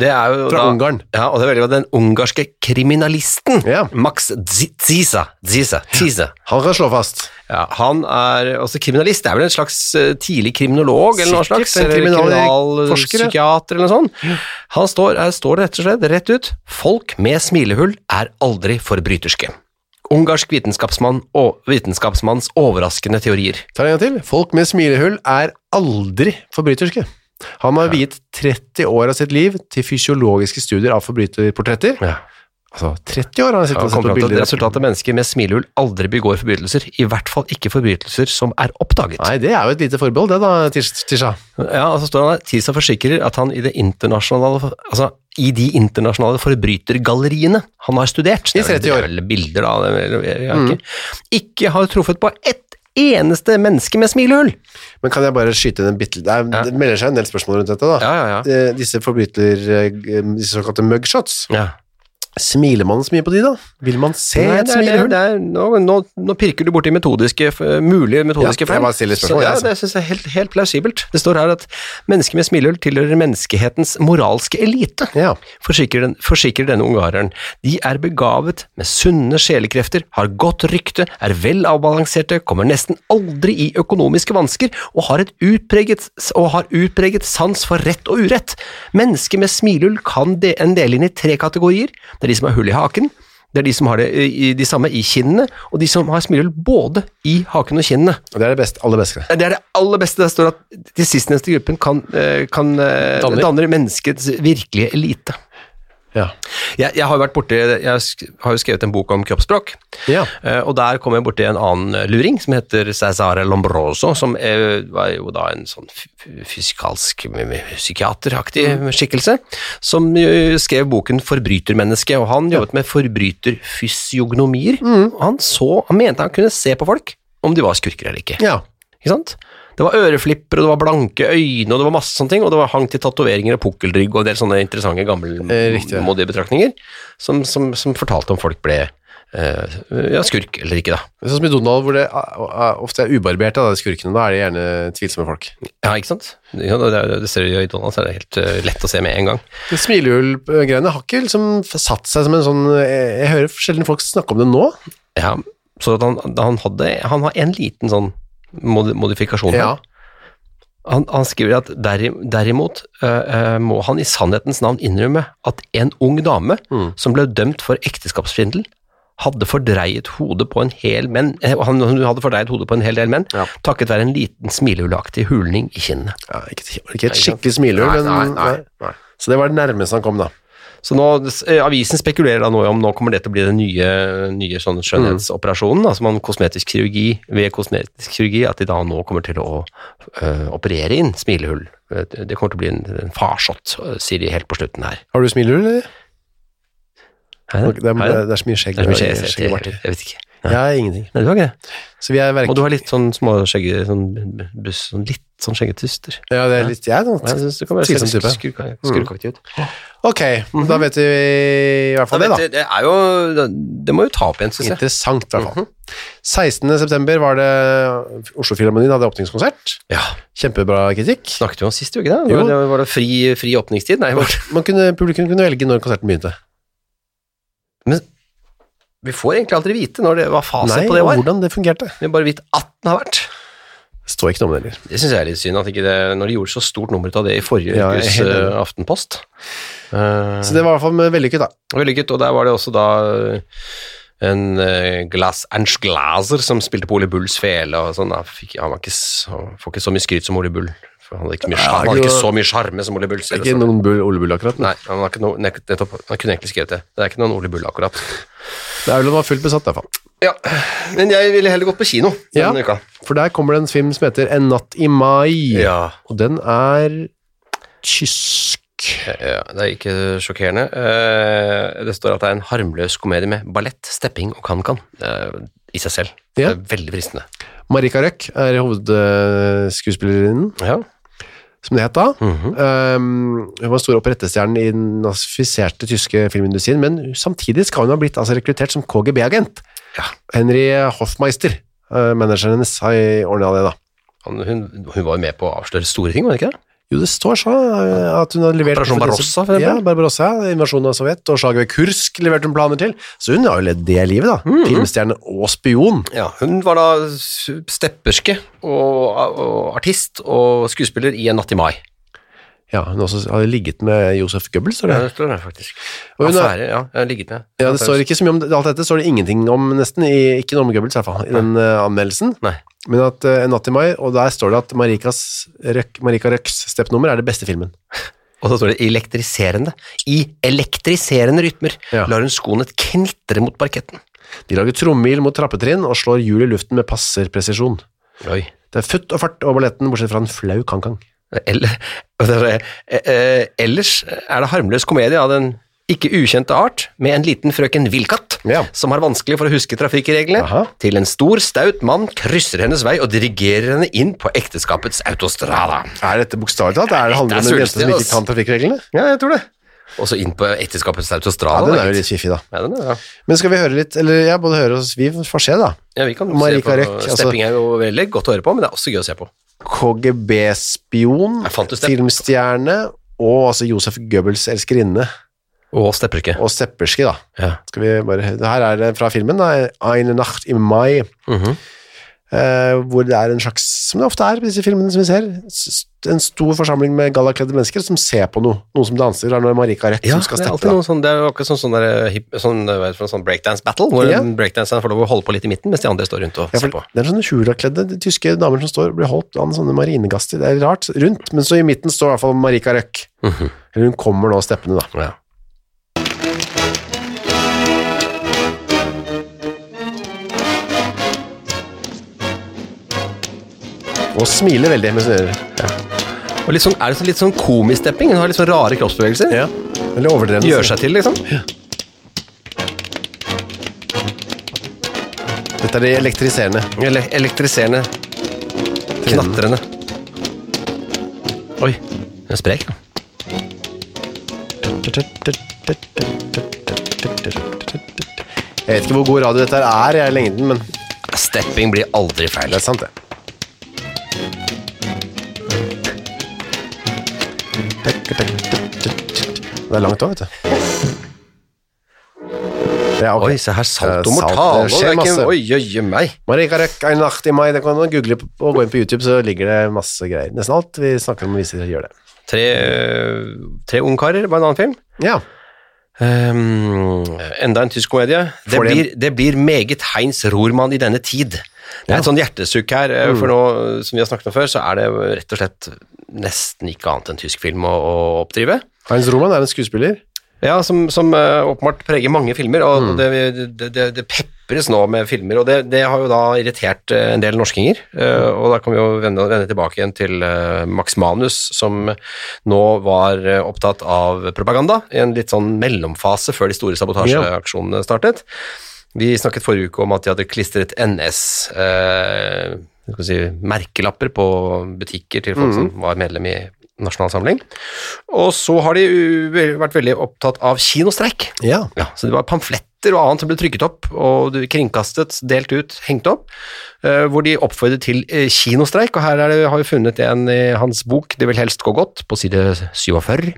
S1: Det er jo
S2: Fra
S1: da,
S2: Ungarn.
S1: Ja, og det er veldig bra. Den ungarske kriminalisten
S2: Ja.
S1: Max Ziza. Ziza. Ziza.
S2: Han kan slå fast.
S1: Ja, han er også kriminalist. Det er vel en slags eh, tidlig kriminolog eller noe
S2: Sikkert
S1: slags?
S2: en
S1: eller
S2: kriminalforsker, ja.
S1: Kriminalpsykiater eller noe sånt. Han står, her står det rett og slett rett ut. Folk med smilehull er aldri forbryterske. Ungarsk vitenskapsmann og vitenskapsmanns overraskende teorier.
S2: Tar en gang til. Folk med smilehull er aldri forbryterske. Han har viet 30 år av sitt liv til fysiologiske studier av forbryterportretter.
S1: Ja.
S2: Altså, 30 år har han sittet
S1: Han
S2: og
S1: kommer
S2: sett på
S1: fram til at
S2: bilder.
S1: resultatet er mennesker med smilehull aldri begår forbrytelser, i hvert fall ikke forbrytelser som er oppdaget.
S2: Nei, det er jo et lite forbehold, det da, Tish- Tisha.
S1: Ja, og så står han her, TISA forsikrer at han i, det internasjonale, altså, i de internasjonale forbrytergalleriene han har studert, det er vel-
S2: 30 år.
S1: det er vel bilder av det, eller- jeg har ikke, ikke har truffet på ett eneste menneske med smilehull.
S2: Men kan jeg bare skyte inn en bitte Det, er, det melder seg en del spørsmål rundt dette, da.
S1: Ja, ja, ja.
S2: Eh, Disse forbryter... eh, Disse såkalte mugshots.
S1: Ja.
S2: Smiler man så mye på de, da? Vil man se
S1: Nei,
S2: et
S1: det er- det er-
S2: smilehull?
S1: det er- Nå, nå, nå pirker du borti metodiske, f- mulige metodiske
S2: Ja, jeg bare stiller spørsmål,
S1: Så, ja,
S2: jeg, altså.
S1: det syns jeg er helt, helt plausibelt. Det står her at mennesker med smilehull tilhører menneskehetens moralske elite.
S2: Ja.
S1: forsikrer, den, forsikrer denne ungareren. De er begavet med sunne sjelekrefter, har godt rykte, er vel avbalanserte, kommer nesten aldri i økonomiske vansker og har, et utpreget, og har utpreget sans for rett og urett. Mennesker med smilehull kan de, en dele inn i tre kategorier. Det er de som har hull i haken, det er de som har det, eh, i, de samme i kinnene, og de som har smilehull både i haken og kinnene.
S2: Og Det er det beste, aller beste.
S1: Det er det aller beste. Det står at de sistnevnte gruppen kan, eh, kan eh,
S2: Danner.
S1: danner menneskets virkelige elite.
S2: Ja.
S1: Jeg, jeg har jo vært borti, jeg sk- har jo skrevet en bok om kroppsspråk,
S2: Ja.
S1: Eh, og der kom jeg borti en annen eh, luring som heter Cesare Lombroso, som er, var jo da en sånn f- f- fysikalsk m- m- psykiateraktig skikkelse, som eh, skrev boken 'Forbrytermenneske', og han jobbet med forbryterfysiognomier. Og Han, så, han mente han kunne se på folk om de var skurker eller ikke.
S2: ja.
S1: Ikke sant? Det var øreflipper, og det var blanke øyne, og det var masse sånne ting, og det var hang til tatoveringer og pukkelrygg og en del sånne interessante
S2: Eh, riktig.
S1: gammelmodige betraktninger som, som, som fortalte om folk ble eh, ja, skurk eller ikke, da.
S2: Det er Sånn som i Donald, hvor det er- er- ofte er ubarberte av de skurkene. Da er det gjerne tvilsomme folk.
S1: Ja, ikke sant? Ja, det, det- det ser du jo i Donald, så er det helt eh, lett å se med en gang.
S2: Det Smilehull-greiene har ikke liksom satt seg som en sånn Jeg, jeg hører sjelden folk snakke om det nå.
S1: Ja, så at han, da han hadde Han har en liten sånn mod, modifikasjon. her.
S2: Ja.
S1: Han, han skriver at deri, derimot eh, eh, må han i sannhetens navn innrømme at en ung dame som ble dømt for ekteskapssvindel, hadde fordreiet hodet på en hel menn, eh, han, hun hadde fordreiet hodet på en hel del menn,
S2: Ja.
S1: takket være en liten smilehullaktig hulning i kinnene.
S2: ja ikke, et- ikke et skikkelig smilehull,
S1: Nei,
S2: men
S1: nei, nei,
S2: Så det var det nærmeste han kom, da.
S1: Så nå, eh, Avisen spekulerer da nå om nå kommer det til å bli den nye, nye sånne skjønnhetsoperasjonen, da, som man kosmetisk kirurgi ved kosmetisk kirurgi, at de da nå kommer til å eh, operere inn smilehull. Eh, Det kommer til å bli en, en farsott, eh, sier de helt på slutten her.
S2: Har du smilehull, eller?
S1: Er
S2: Det er,
S1: Er det?
S2: det er så mye skjegg.
S1: Det er så mye skjegg,
S2: skjegg-
S1: jeg,
S2: Martin.
S1: jeg, jeg vet ikke.
S2: Jeg har ingenting.
S1: Nei, det var ikke det.
S2: Så vi er verken
S1: Og du har litt sånn småskjegg, sånn buss, sånn litt sånn skjeggetuster.
S2: Ja, det er litt jeg,
S1: Nei, Jeg
S2: da.
S1: synes du kan være
S2: Tvilsom
S1: skurk-
S2: type.
S1: skurk-
S2: Mm.
S1: skurkaktig ut.
S2: Ok,
S1: Mhm.
S2: da vet vi i hvert fall det, da.
S1: det, det er jo, det må jo ta opp igjen, synes jeg.
S2: Interessant, i hvert fall.
S1: Mhm.
S2: 16. september var det Oslo Filharmonien hadde åpningskonsert.
S1: Ja,
S2: Kjempebra kritikk.
S1: snakket vi om sist, jo ikke det?
S2: Jo.
S1: Var det, var det fri, fri åpningstid? Nei, var det-
S2: Man kunne, publikum kunne velge når konserten begynte.
S1: men vi får egentlig aldri vite når det, hva fasit
S2: Nei,
S1: på det
S2: og
S1: var.
S2: hvordan det fungerte.
S1: Vi har bare vite at den har vært.
S2: Det står ikke noe om det heller.
S1: Det synes jeg er litt synd, at ikke det, når de gjorde så stort nummer ut av det i forrige
S2: Ja, jeg er
S1: ukes
S2: helt enig.
S1: eh, Aftenpost. Eh,
S2: Så det var i hvert fall med vellykket, da.
S1: Vellykket, og der var det også da eh, en eh, glass, Ernst Glaser som spilte på Ole Bulls fele og sånn. da Fikk, han, var ikke, s- han får ikke så mye skryt som Ole Bull. For han hadde ikke, mye,
S2: Ja,
S1: sjarm- han hadde
S2: ikke
S1: ikke
S2: noe-
S1: så mye sjarme som Ole Bull.
S2: Det
S1: Ser
S2: er
S1: det
S2: ikke
S1: ut som.
S2: noen bull, Ole Bull akkurat. men
S1: Nei, han, har ikke noe, nettopp, han kunne egentlig skrevet det. Det er ikke noen Ole Bull, akkurat.
S2: Det er vel at den var fullt besatt, i hvert fall.
S1: Ja, Men jeg ville heller gått på kino
S2: Ja.
S1: denne uka.
S2: For der kommer det en film som heter En natt i mai.
S1: Ja.
S2: Og den er tysk.
S1: Ja, det er ikke sjokkerende. Eh, Det står at det er en harmløs komedie med ballett, stepping og kan-kan eh, i seg selv.
S2: Ja.
S1: Det er veldig fristende.
S2: Marika Røck er hovedskuespillerinnen,
S1: Ja.
S2: som det het da.
S1: Mhm.
S2: Um, hun var stor operettestjerne i den nazifiserte tyske filmindustrien, men samtidig skal hun ha blitt altså, rekruttert som KGB-agent.
S1: Ja.
S2: Henry Hoffmeister, uh, manageren hennes, har ordna det, da.
S1: Han, hun, hun var jo med på å avsløre store ting, var det ikke det?
S2: Jo, det står så eh, at hun har levert
S1: Operasjon Barbarossa, for eksempel.
S2: Ja, Barbarossa, invasjonen av Sovjet, og slaget ved Kursk leverte hun planer til. Så hun har jo ledd det livet, da.
S1: Mhm.
S2: Filmstjerne og spion.
S1: Ja, hun var da stepperske og, og artist og skuespiller i En natt i mai.
S2: Ja, hun har også har ligget med Josef Goebbels, står det.
S1: Ja, det står der faktisk.
S2: Og hun er-
S1: Affære, ja. Jeg har ligget med.
S2: Ja, det står ikke så mye om det. alt dette, står det ingenting om nesten, i, ikke noe om Goebbels i hvert fall, i den eh, anmeldelsen.
S1: Nei.
S2: Men at eh, En natt i mai, og der står det at Marikas Røk, Marika Røks steppnummer er det beste filmen.
S1: Og så står det elektriserende. I elektriserende rytmer
S2: Ja.
S1: lar hun skoene knitre mot parketten.
S2: De lager trommehjul mot trappetrinn og slår hjul i luften med passerpresisjon.
S1: Oi.
S2: Det er futt og fart over balletten, bortsett fra en flau kankang.
S1: Eller, og det er, eh, eh, ellers er det harmløs komedie av den ikke ukjente art, med en liten frøken Villkatt,
S2: Ja.
S1: som har vanskelig for å huske trafikkreglene,
S2: Aha.
S1: til en stor, staut mann krysser hennes vei og dirigerer henne inn på ekteskapets autostrada.
S2: Er dette bokstavelig talt? Er det handler
S1: Det
S2: om
S1: er
S2: en jente som
S1: svulstig,
S2: ikke
S1: ass.
S2: kan trafikkreglene?
S1: Ja, jeg tror det. Og så inn på ekteskapets
S2: Ja,
S1: autostrada.
S2: den
S1: da,
S2: er jo
S1: gitt.
S2: litt fiffig, da.
S1: Ja, den er, ja.
S2: Men skal vi høre litt, eller ja, både høre oss, vi får se, da.
S1: ja, vi kan
S2: Marika
S1: se på.
S2: Røck, altså.
S1: Stepping er jo veldig godt å høre på, men det er også gøy å se på.
S2: KGB-spion,
S1: Jeg fant ut det.
S2: filmstjerne, og altså Josef Goebbels elskerinne,
S1: Og stepperske.
S2: og stepperske, da.
S1: Ja.
S2: Skal vi bare, det her er det fra filmen da, Eine Nacht im Mai
S1: Mhm.
S2: eh, hvor det er en slags som det ofte er på disse filmene som vi ser s- en stor forsamling med gallakledde mennesker som ser på noe, noen som danser det er noe Marika Rett
S1: Ja,
S2: som skal
S1: det er
S2: steppe
S1: alltid
S2: da.
S1: noe sånn, det er jo akkurat sånn, sånn, der, hip, sånn, eh, hva heter det for noe, sånn breakdance battle, hvor
S2: Ja.
S1: en breakdanseren får lov å holde på litt i midten, mens de andre står rundt og
S2: Ja,
S1: ser
S2: for
S1: på.
S2: det er sånne kjulakledde de tyske damer som står og blir holdt an sånne marinegaster, det er rart,
S1: Mhm.
S2: rundt, men så i midten står i hvert fall Marika Røck. Eller hun kommer nå steppende da.
S1: Ja.
S2: Og smiler veldig mens hun gjør det.
S1: Og litt sånn, er det sånn, litt sånn komistepping? Hun har litt sånn rare kroppsbevegelser.
S2: Ja. Eller overdrevet.
S1: Gjør seg til, liksom.
S2: Dette er det elektriserende.
S1: Ele elektriserende. Knatrende. Oi, hun er sprek, da.
S2: Jeg vet ikke hvor god radio dette her er, jeg er i lengden, men
S1: Stepping blir aldri feil. altså.
S2: det er sant, det. Det er langt òg, vet du. Ja, ok.
S1: Oi, se her, salto
S2: Eh,
S1: mortale.
S2: Det skjer masse.
S1: Oi, jøy, meg.
S2: Marika Røkk, en nacht i mai. Det kan du google på, og gå inn på YouTube, så ligger det masse greier. Nesten alt vi snakker om, viser gjør det.
S1: Tre, øh, tre ungkarer, bare en annen film.
S2: Ja.
S1: Ehm, enda en tysk komedie. Det
S2: Får det en-
S1: blir, det blir meget Heinz Rormann i denne tid. Det er et sånn hjertesukk her, eh,
S2: Mm.
S1: for nå, som vi har snakket om før, så er det rett og slett nesten ikke annet enn tysk film å, å oppdrive.
S2: Heinz Roman er en skuespiller.
S1: Ja, som, som eh, åpenbart preger mange filmer, og det, det, det, det pepres nå med filmer, og det, det har jo da irritert eh, en del norskinger, eh, og da kan vi jo vende, vende tilbake igjen til eh, Max Manus, som nå var eh, opptatt av propaganda, i en litt sånn mellomfase før de store sabotasjeaksjonene startet. Vi snakket forrige uke om at de hadde klistret NS, eh, skal vi si, merkelapper på butikker til folk som var medlem i nasjonalsamling. Og så har de u- ve- vært veldig opptatt av kinostreik.
S2: Ja.
S1: Ja, så det var pamfletter og annet som ble trykket opp og du- kringkastet, delt ut, hengt opp, eh, hvor de oppfordret til eh, kinostreik. Og her er det, har vi funnet en i hans bok 'Det vil helst gå godt', på side 47.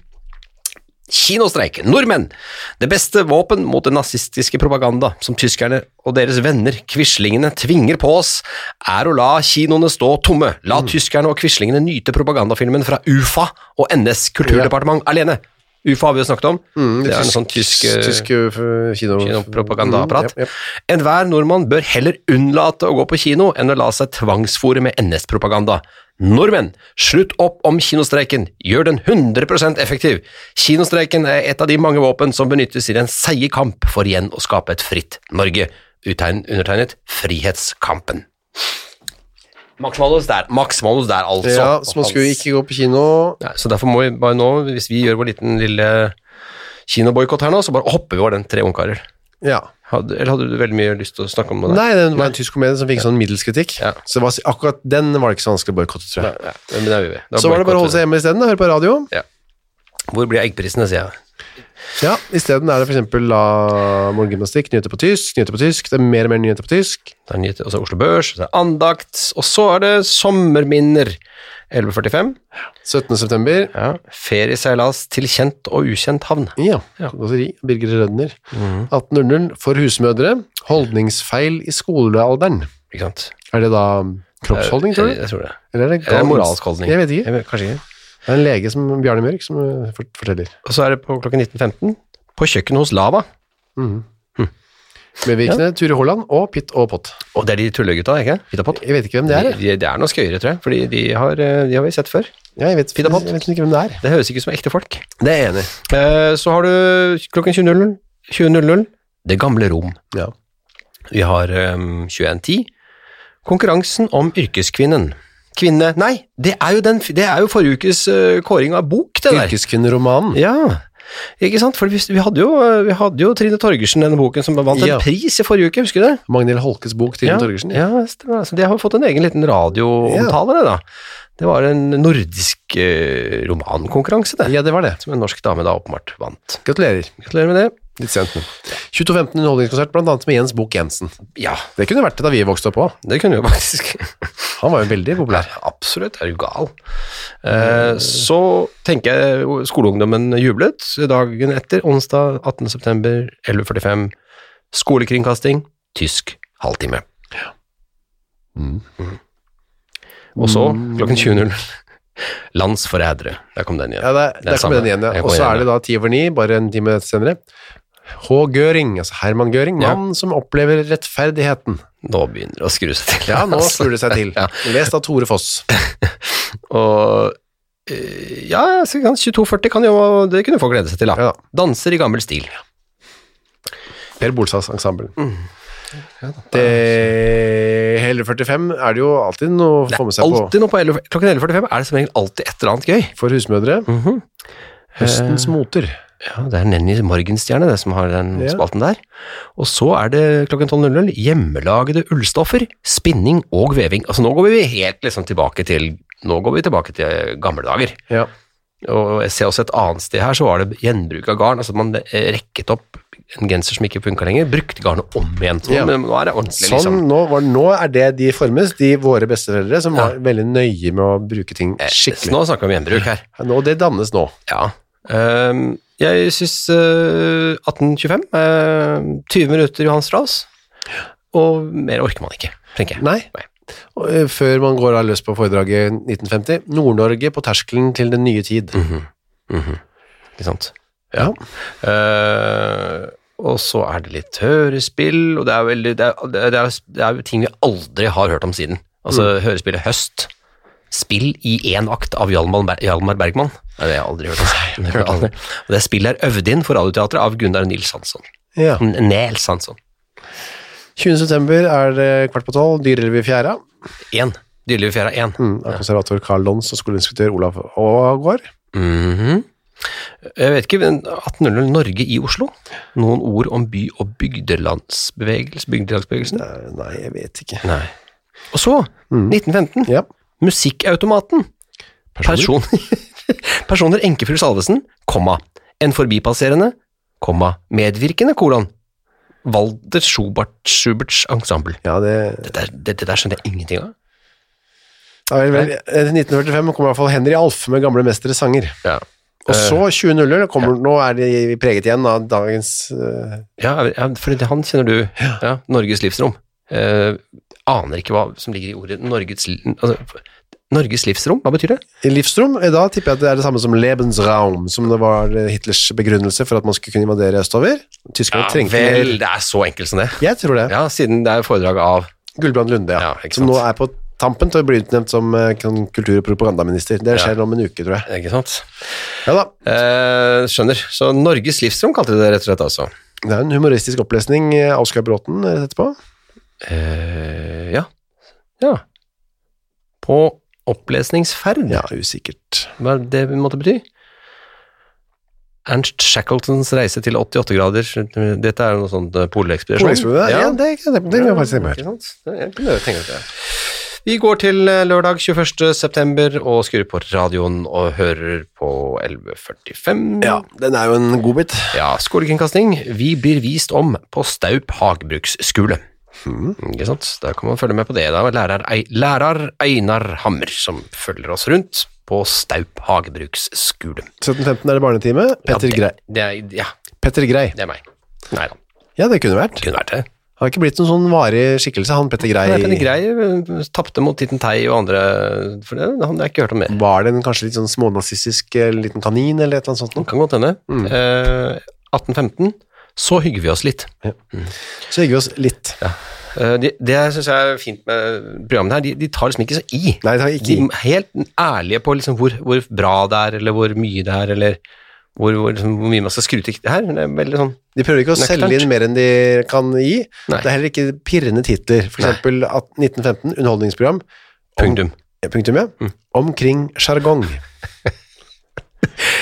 S1: Kinostreik. Nordmenn! Det beste våpen mot den nazistiske propaganda som tyskerne og deres venner, quislingene, tvinger på oss, er å la kinoene stå tomme. La tyskerne og quislingene nyte propagandafilmen fra UFA og NS kulturdepartement alene. UFA har vi jo snakket om. det er en sånn tysk, eh,
S2: tysk eh, kino...
S1: kinopropagandaapparat.
S2: Mm, ja, ja.
S1: Enhver nordmann bør heller unnlate å gå på kino enn å la seg tvangsfòre med NS-propaganda. Nordmenn, slutt opp om kinostreiken, gjør den 100 effektiv. Kinostreiken er et av de mange våpen som benyttes i den seige kamp for igjen å skape et fritt Norge. Uttegn, undertegnet Frihetskampen. Maksimalus der, Maksimalus der altså.
S2: Ja, så man skulle ikke gå på kino
S1: Nei, så derfor må vi bare nå, hvis vi gjør vår liten lille kinoboikott her nå, så bare hopper vi over den tre ungkarer.
S2: Ja.
S1: Hadde, eller hadde du veldig mye lyst til å snakke om det?
S2: Nei, det var en tysk komedie som fikk sånn middels kritikk.
S1: Ja.
S2: Så det var, akkurat den var det ikke så vanskelig å boikotte, tror jeg.
S1: Ja, men det er vi ved. Da
S2: Så var det bare å holde seg hjemme isteden, og høre på radio.
S1: Hvor blir eggprisene, sier jeg.
S2: Ja, isteden er det for eksempel la morgengymnastikk, nyheter på tysk, nyheter på tysk, det er mer og mer nyheter på tysk.
S1: Det er nyheter, og så Oslo Børs, så er det andakt, og så er det sommerminner. 11.45.
S2: 17. september,
S1: Ja. Ferieseilas til kjent og ukjent havn.
S2: ja,
S1: Ja. Mhm.
S2: konditori, Birger Rødner. 18.00, for husmødre, holdningsfeil i skolealderen.
S1: Ikke sant?
S2: Er det da kroppsholdning, tror du?
S1: Jeg tror det.
S2: Eller er det,
S1: Eller Eh,
S2: gal-
S1: moralsk holdning.
S2: Jeg vet ikke.
S1: Jeg vet, kanskje ikke.
S2: Det er en lege som Bjarne Mørk som eh, fort- forteller.
S1: Og så er det på klokken 19.15 på kjøkkenet hos Lava.
S2: Medvirkende, Ture Holland og Pitt og Pott.
S1: Og det er de tullegutta, ikke? Fittapott.
S2: Jeg vet ikke hvem det er.
S1: De,
S2: jeg.
S1: de, det er noe skøyere, tror jeg, fordi de har, eh, de har vi sett før.
S2: Ja, jeg vet,
S1: Pitt og Pott.
S2: jeg vet ikke hvem det er.
S1: Det høres ikke ut som ekte folk.
S2: Det er jeg enig.
S1: Eh, Så har du klokken 20.00 20.00 Det gamle rom.
S2: Ja.
S1: Vi har ehm, 21.10. Konkurransen om yrkeskvinnen. Kvinne Nei, det er jo, den, det er jo forrige ukes eh, kåring av bok, det der.
S2: Yrkeskvinneromanen.
S1: Ja, ikke sant? For vi, vi, hadde jo, eh, vi hadde jo Trine Torgersen, denne boken som vant en
S2: Ja.
S1: pris i forrige uke, husker du det?
S2: Magnhild Holkes bok, Trine
S1: ja,
S2: Torgersen.
S1: Ja, stemmer. Så det har jo fått en egen liten radioomtale, det da. Det var en nordisk eh, romankonkurranse, det.
S2: Ja, det var det.
S1: Som en norsk dame da åpenbart vant.
S2: Gratulerer.
S1: Gratulerer med det.
S2: Litt sent nå. 22.15 underholdningskonsert, blant annet med Jens Bok Jensen.
S1: Ja,
S2: Det kunne vært det da vi vokste opp òg.
S1: det kunne vi jo faktisk.
S2: Han var jo veldig populær.
S1: Absolutt, er du gal. Eh, så tenker jeg skoleungdommen jublet dagen etter, onsdag 18.9. 11.45. Skolekringkasting, tysk halvtime.
S2: Mm.
S1: Og så klokken 20.00 Landsforrædere. Der kom den igjen.
S2: Ja, der,
S1: er
S2: der kom
S1: samme.
S2: den igjen, ja.
S1: Jeg kom
S2: Og så
S1: igjen,
S2: er det da ti over ni, bare en time senere. H. Göring, altså Herman Göring,
S1: Ja.
S2: mannen som opplever rettferdigheten.
S1: Nå begynner det å skru seg til.
S2: Ja, nå
S1: Altså.
S2: snur det seg til.
S1: Ja.
S2: Lest av Tore Foss.
S1: Og eh, ja, så kan 22.40 kan jo Det kunne folk glede seg til, da.
S2: Ja da.
S1: Danser i gammel stil.
S2: Per Bolstads ensemble. Til hele 45 er det jo alltid noe å
S1: Det
S2: få
S1: er
S2: med seg på
S1: alltid noe på 11, klokken 11.45 er det som regel alltid et eller annet gøy. Mhm. Eh,
S2: for husmødre. Høstens moter.
S1: Ja, det er Nenny Morgenstjerne det som har den
S2: Ja.
S1: spalten der. Og så er det klokken 12.00 hjemmelagede ullstoffer, spinning og veving. Altså nå går vi helt liksom tilbake til nå går vi tilbake til gamle dager.
S2: Ja.
S1: Og jeg ser også et annet sted her, så var det gjenbruk av garn. Altså at man eh, rekket opp en genser som ikke funka lenger, brukte garnet om igjen. Så,
S2: Ja.
S1: Men nå er det ordentlig, liksom.
S2: Sånn, nå, var, nå er det de formes, de våre besteforeldre, som var veldig nøye med å bruke ting skikkelig.
S1: Eh, Nå snakker vi om gjenbruk her.
S2: Nå, det dannes nå.
S1: Ja. Ehm, jeg syns 1825 eh, 20 minutter Johan Strauss. Og mer orker man ikke, tenker jeg.
S2: Nei.
S1: Nei.
S2: Og, eh, Før man går av løs på foredraget 1950. Nord-Norge på terskelen til den nye tid.
S1: Mhm. Ikke sant?
S2: Ja.
S1: Eh, og så er det litt hørespill, og det er, veldig, det, er, det, er, det er ting vi aldri har hørt om siden. Altså hørespillet Høst. Spill i én akt av Hjalmar, Ber Hjalmar Bergman. Det har jeg aldri hørt om. Det, aldri. Og det spillet er øvd inn for Radioteatret av Gunnar Nils Hansson.
S2: Ja.
S1: Nels Hansson.
S2: 20. september er det kvart på tolv, dyrere i fjæra.
S1: Én. Dyreliv i fjæra én.
S2: Mm, av konservator Carl Lons og skoleinspektør Olav Aagaard.
S1: Mhm. Jeg vet ikke, men 1800 Norge i Oslo. Noen ord om by- og bygdelandsbevegelse, bygdelandsbevegelsen?
S2: Eh, Nei, jeg vet ikke.
S1: Nei. Og så, 1915,
S2: Ja.
S1: Musikkautomaten. Personer, personer enkefru Salvesen, komma, en forbipasserende, komma, medvirkende, kolon. Walter Schubert, Schuberts ensemble.
S2: ja, det
S1: Dette, er- det, det der skjønner jeg ingenting av.
S2: Ja, vel, vel. Eh, 1945 kommer i hvert fall Henry Alf med Gamle mestere sanger.
S1: Ja.
S2: Og
S1: Eh.
S2: så 2000, kommer, nå er de preget igjen av dagens eh,
S1: Ja, ja, for det, han kjenner du. Ja, Norges livsrom. Eh, aner ikke hva som ligger i ordet Norges, li- altså, Norges livsrom. Hva betyr det?
S2: livsrom. Eh, Da tipper jeg at det er det samme som Lebensraum, som det var eh, Hitlers begrunnelse for at man skulle kunne invadere østover. Tyskerne trengte
S1: vel,
S2: mer.
S1: det er så enkelt som det.
S2: Jeg tror det.
S1: Ja, siden det er foredrag av
S2: Gullbrand Lunde, ja.
S1: Ja, ikke
S2: som
S1: sant.
S2: nå er på tampen til å bli utnevnt som eh, kan- kultur- og propagandaminister. Det skjer om en uke, tror jeg.
S1: Ikke sant?
S2: Ja da.
S1: Eh, skjønner. Så Norges livsrom kalte de det rett og slett, altså.
S2: Det er en humoristisk opplesning eh, av Oscar Bråten eh, etterpå.
S1: Eh, ja. Ja. På opplesningsferd,
S2: Ja, usikkert.
S1: hva er det det måtte bety? Ernst Shackletons reise til 88 grader. Dette er jo noe sånt eh, polekspedisjon.
S2: Polekspedisjon, ja, ja, det, det, det, det, kan jeg faktisk tenke meg.
S1: Ikke sant? Det- jeg kunne tenke meg det. Vi går til eh, lørdag 21. september og skrur på radioen og hører på 11.45.
S2: Ja, den er jo en god bit.
S1: Ja, skolekringkasting. Vi blir vist om på Staup hagbruksskole.
S2: Hmm.
S1: Ikke sant? Der kan man følge med på det. Da. Lærer, Ei- lærer Einar Hammer som følger oss rundt på Staup hagebruksskole.
S2: 17.15 er det barnetime. Petter,
S1: ja,
S2: Grei.
S1: det, det er, ja,
S2: Petter Grei.
S1: det er meg. Nei da,
S2: Ja, det kunne vært.
S1: det kunne vært det.
S2: Han har ikke blitt noen sånn varig skikkelse, han Petter Grei.
S1: Nei, Penny Grei eh, tapte mot Titten Tei og andre, for det, han har jeg ikke hørt om mer.
S2: Var det en kanskje litt sånn smånazistisk eh, liten kanin eller et eller annet sånt? noe?
S1: Kan godt hende.
S2: Mm.
S1: Eh, 1815, så hygger vi oss litt.
S2: Så hygger vi oss litt.
S1: Eh, de, det syns jeg er fint med programmet her. De, de tar liksom ikke så i.
S2: Nei, det har jeg
S1: De
S2: ikke.
S1: er helt ærlige på liksom hvor, hvor bra det er, eller hvor mye det er, eller hvor, hvor, liksom, hvor mye man skal skru til det her. Det er veldig sånn
S2: De prøver ikke å
S1: Nøkternt.
S2: selge inn mer enn de kan gi.
S1: Nei.
S2: Det er heller ikke pirrende titler. For
S1: Nei.
S2: eksempel at 1915, underholdningsprogram. om-
S1: punktum.
S2: Ja, Punktum, ja. Omkring sjargong.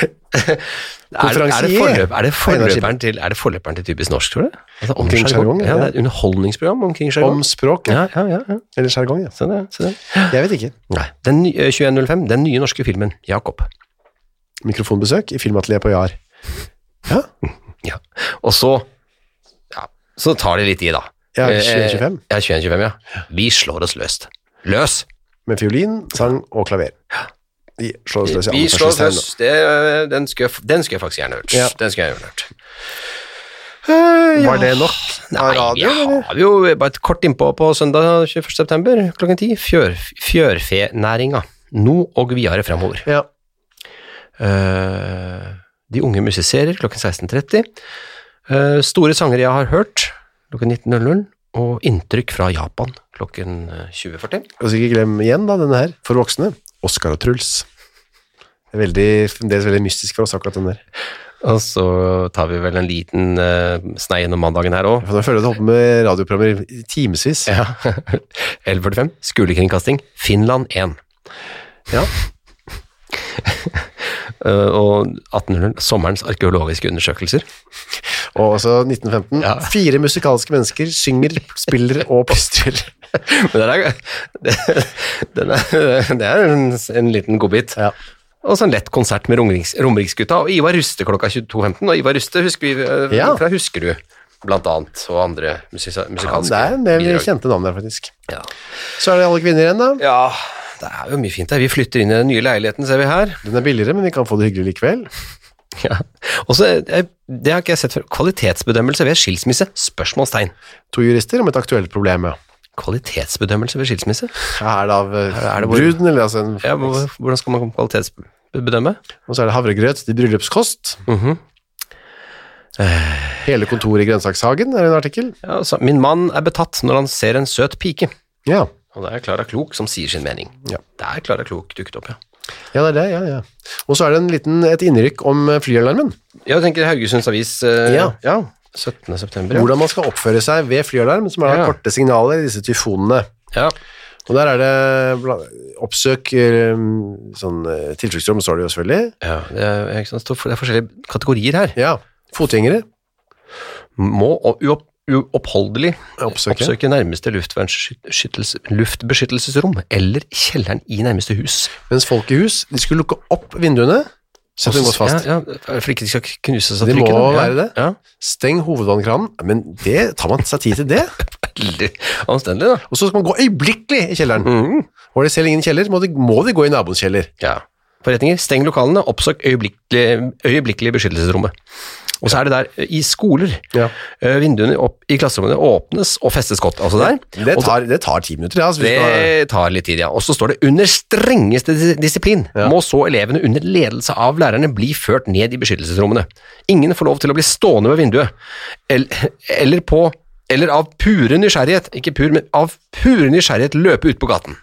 S1: Er, er, det
S2: Konferansier.
S1: forløp, er, det
S2: Einar Skipper.
S1: forløperen til, er det forløperen til Typisk norsk, tror du? Altså, om
S2: Omkring
S1: jargong?
S2: jargong,
S1: Ja,
S2: ja.
S1: det er et underholdningsprogram omkring
S2: Om
S1: sjargong.
S2: språk, ja.
S1: Ja, ja, ja, ja.
S2: Eller sjargong, ja.
S1: Se det. Se det.
S2: Jeg vet ikke.
S1: Nei. Den, ny- eh, 2105, den nye norske filmen, Jakob.
S2: Mikrofonbesøk i filmatelier på Jar. Ja,
S1: Ja. Og så, ja, så tar det litt i, da.
S2: Ja,
S1: Eh,
S2: 2125.
S1: Ja, 2125, ja. Vi slår oss løst. Løs!
S2: med fiolin, sang og klaver. Vi slår oss løs i
S1: Vi slår oss
S2: anførselstegn,
S1: løs. Det, eh, den, skulle jeg, f- den skulle jeg faktisk gjerne hørt.
S2: Ja.
S1: Den skulle jeg gjerne hørt.
S2: da. Var det nok?
S1: Nei,
S2: av radio,
S1: vi har jo bare et kort innpå på søndag 21. september klokken 10. Fjør, fjørfenæringa. Nå og videre fremover.
S2: Ja.
S1: Eh, de unge musiserer klokken 16.30. Eh, store sanger jeg har hørt klokken 19.00. Og inntrykk fra Japan klokken eh, 20.40.
S2: Og så Altså, ikke glem igjen da, denne her, for voksne. Oscar og Truls. Det er veldig, fremdeles veldig mystisk for oss akkurat den der.
S1: Og så tar vi vel en liten eh, snei gjennom mandagen her òg.
S2: For da føler jeg at jeg holder på med radioprogrammer i timevis.
S1: Ja. 11.45. Skolekringkasting. Finland 1.
S2: Ja.
S1: Eh, og 1800. Sommerens arkeologiske undersøkelser.
S2: Og så 1915.
S1: Ja.
S2: Fire musikalske mennesker synger, spiller og plystrer.
S1: Men den er, den er, det er en, en liten godbit.
S2: Ja.
S1: Og så Altså en lett konsert med Romerikes- Romeriksgutta og Ivar Ruste klokka 22.15. Og Ivar Ruste husker vi eh,
S2: Ja.
S1: fra Huskerud, blant annet, og andre musisa-
S2: Ja,
S1: musikalske
S2: det er en del
S1: bidrag.
S2: kjente navn der, faktisk.
S1: Ja.
S2: Så er det alle kvinner igjen, da.
S1: ja, det er jo mye fint her. Vi flytter inn i den nye leiligheten, ser vi her.
S2: Den er billigere, men vi kan få det hyggelig likevel.
S1: Ja. Og så, eh, det har ikke jeg sett før, kvalitetsbedømmelse ved skilsmisse? Spørsmålstegn.
S2: To jurister om et aktuelt problem, ja.
S1: Kvalitetsbedømmelse ved skilsmisse?
S2: Er det av eh,
S1: Er det hvor-
S2: bruden, eller altså en...
S1: Ja, hvor- hvordan skal man kvalitetsbedømme?
S2: Og så er det havregrøt til bryllupskost. Eh, Hele kontoret i Grønnsakshagen, er det en artikkel?
S1: Ja, så, Min mann er betatt når han ser en søt pike.
S2: Ja.
S1: Og det er Klara Klok som sier sin mening.
S2: Ja.
S1: Det er Klara Klok dukket opp, ja.
S2: Ja, det er det, ja, ja. Og så er det en liten, et innrykk om eh, flyalarmen.
S1: Ja, du tenker Haugesunds Avis eh,
S2: Ja.
S1: 17. september.
S2: Hvordan man skal oppføre seg ved flyalarm, som er da
S1: Ja.
S2: korte signaler i disse tyfonene.
S1: Ja.
S2: Og der er det bla- oppsøk eh, sånn, eh, tilfluktsrom, står det jo selvfølgelig.
S1: ja det, er, ikke sant, det er forskjellige kategorier her.
S2: Ja, fotgjengere.
S1: Må og uopp, uoppholdelig
S2: Oppsøke.
S1: oppsøke nærmeste luftvernskyttelse- luftbeskyttelsesrom eller kjelleren i nærmeste hus.
S2: Mens folk i hus, de skulle lukke opp vinduene, sette dem godt fast.
S1: Ja, ja, for ikke de skal knuses av
S2: Det må
S1: trykket. da.
S2: være det.
S1: Ja.
S2: Steng hovedvannkranen, men det tar man seg tid til det.
S1: Ja. Veldig anstendig, da.
S2: Og så skal man gå øyeblikkelig i kjelleren.
S1: Mhm.
S2: Var det selv ingen kjeller, må de, må de gå i naboens kjeller.
S1: Ja. Forretninger, steng lokalene, oppsøk øyeblikkelig, øyeblikkelig beskyttelsesrommet. Og så er det der eh, i skoler.
S2: Ja.
S1: eh, Vinduene opp i klasserommene åpnes og festes godt. Altså der.
S2: Det tar, det tar ti minutter, ja. altså, hvis du
S1: Det tar litt tid, ja. Og så står det 'under strengeste dis- disiplin'
S2: Ja.
S1: må så elevene under ledelse av lærerne bli ført ned i beskyttelsesrommene. Ingen får lov til å bli stående ved vinduet, eller, eller på eller av pure nysgjerrighet, ikke pur, men av pure nysgjerrighet løpe ut på gaten.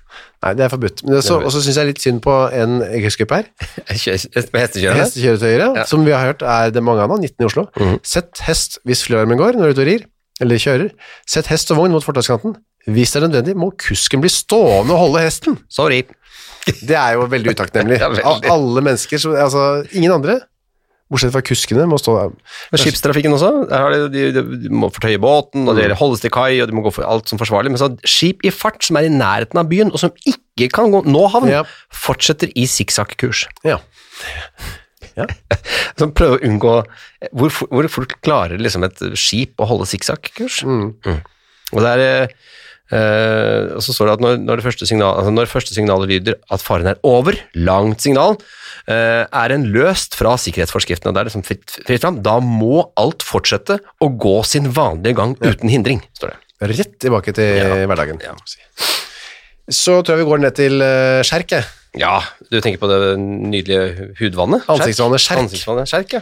S2: Nei, det er forbudt. Men det er så, og så syns jeg litt synd på en huscup her.
S1: Med hestekjørerne?
S2: Hestekjøretøyere, som vi har hørt er det mange av nå, 19 i Oslo. Sett hest hvis flyalarmen går når du er ute og rir, eller kjører. Sett hest og vogn mot fortauskanten. Hvis det er nødvendig, må kusken bli stående og holde hesten.
S1: Sorry.
S2: Det er jo veldig utakknemlig.
S1: Ja, veldig.
S2: Av alle mennesker, som- altså ingen andre, bortsett fra kuskene, må stå
S1: Men skipstrafikken også. Der har de, de, de, de må fortøye båten,
S2: Mm.
S1: og det gjelder holdes til kai, og de må gå for alt som forsvarlig. Men så skip i fart som er i nærheten av byen, og som ikke kan gå, nå havn,
S2: Ja.
S1: fortsetter i sikksakk-kurs.
S2: Ja.
S1: Som prøver å unngå hvor, for- hvor folk klarer liksom et skip å holde sikksakk-kurs. Mm. Og det er eh, eh, og så står det at når, når, det første signal, altså når første signalet lyder at faren er over, langt signal, eh, er en løst fra sikkerhetsforskriftene. og Det er liksom fritt, fritt fram. Da må alt fortsette å gå sin vanlige gang uten hindring, står det.
S2: rett tilbake til hverdagen.
S1: Ja.
S2: Så tror jeg vi går ned til eh, Skjerk, jeg.
S1: Ja, du tenker på det nydelige hudvannet? Skjerk?
S2: Ansiktsvannet Skjerk.
S1: Ansiktsvannet skjerk, ja.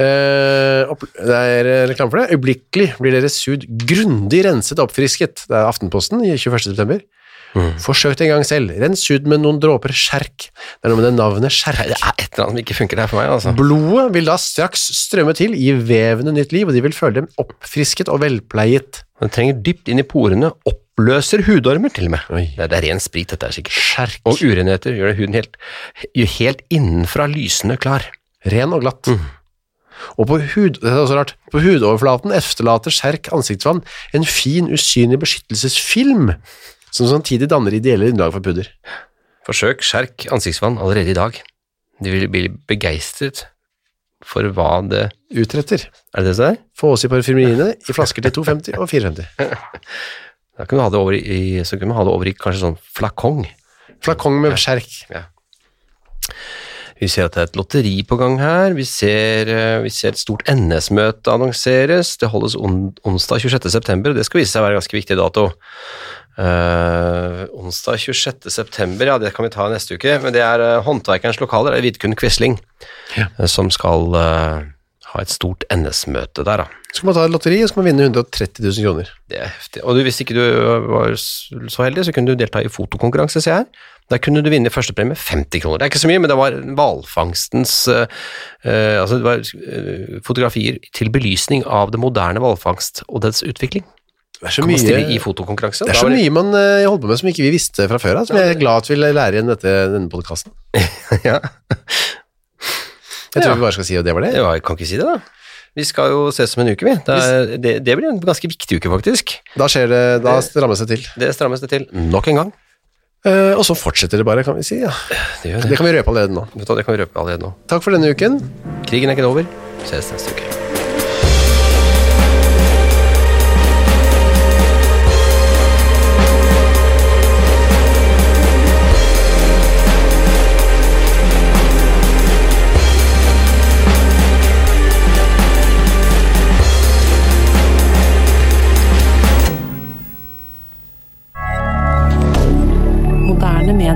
S2: Eh, opp, det er eh, reklame for det. Øyeblikkelig blir deres hud grundig renset og oppfrisket. Det er Aftenposten i 21. september.
S1: Mm.
S2: Forsøk det en gang selv. Rens huden med noen dråper skjerk. Det er noe med det navnet
S1: Det
S2: skjerk.
S1: er et eller annet som ikke funker der for meg, altså.
S2: Blodet vil da straks strømme til, gi vevene nytt liv, og de vil føle dem oppfrisket og velpleiet.
S1: Den trenger dypt inn i porene, oppløser hudormer til og med.
S2: Oi.
S1: Det, det er ren sprit, dette er sikkert.
S2: Skjerk.
S1: Og urenheter gjør det huden helt, gjør helt innenfra lysende klar.
S2: Ren og
S1: Mm.
S2: glatt. Og på, hud, det er også rart, på hudoverflaten efterlater skjerk ansiktsvann en fin, usynlig beskyttelsesfilm, som samtidig danner ideelle grunnlag for pudder.
S1: Forsøk skjerk ansiktsvann allerede i dag. De vil bli begeistret for hva det
S2: Utretter.
S1: Er det det som er?
S2: Få oss i parfymeriene i flasker til 2,50 og 4,50.
S1: Da kan du ha det over i, så kan du ha det over i kanskje sånn flakong.
S2: Flakong med skjerk.
S1: Vi ser at det er et lotteri på gang her. Vi ser, eh, vi ser et stort NS-møte annonseres. Det holdes on onsdag 26. september, og det skal vise seg å være en ganske viktig dato. Eh, onsdag 26. september, ja, det kan vi ta neste uke. Men det er eh, Håndverkerens lokaler, det er Vidkun Quisling, eh, som skal eh, ha et stort NS-møte der, da.
S2: Skal man ta et lotteri, skal man vinne 130 000 kroner.
S1: Det er heftig. Og du, hvis ikke du var s- så heldig, så kunne du delta i fotokonkurranse, ser jeg her. Der kunne du vinne førstepremie 50 kroner. Det er ikke så mye, men det var hvalfangstens eh, eh, Altså, det var eh, fotografier til belysning av det moderne hvalfangst og dets utvikling.
S2: Det er så
S1: Kan man stille i
S2: mye,
S1: fotokonkurranse?
S2: det er
S1: Da
S2: så
S1: var
S2: mye man eh, holder på med som ikke vi visste fra før av, som jeg er glad at vi lærer igjen dette, denne podkasten.
S1: ja.
S2: Jeg tror
S1: Ja.
S2: vi bare skal si at det var det.
S1: ja, jeg kan ikke si det, da. Vi skal jo ses om en uke, vi. Det, er, det, det blir en ganske viktig uke, faktisk.
S2: Da skjer det, da rammes det til.
S1: Det strammes det til nok en gang.
S2: Eh, og så fortsetter det bare, kan vi si. Ja.
S1: Det gjør
S2: Det kan vi røpe allerede nå.
S1: Vet du hva, det kan vi røpe allerede nå.
S2: Takk for denne uken.
S1: Krigen er ikke over. Ses neste uke.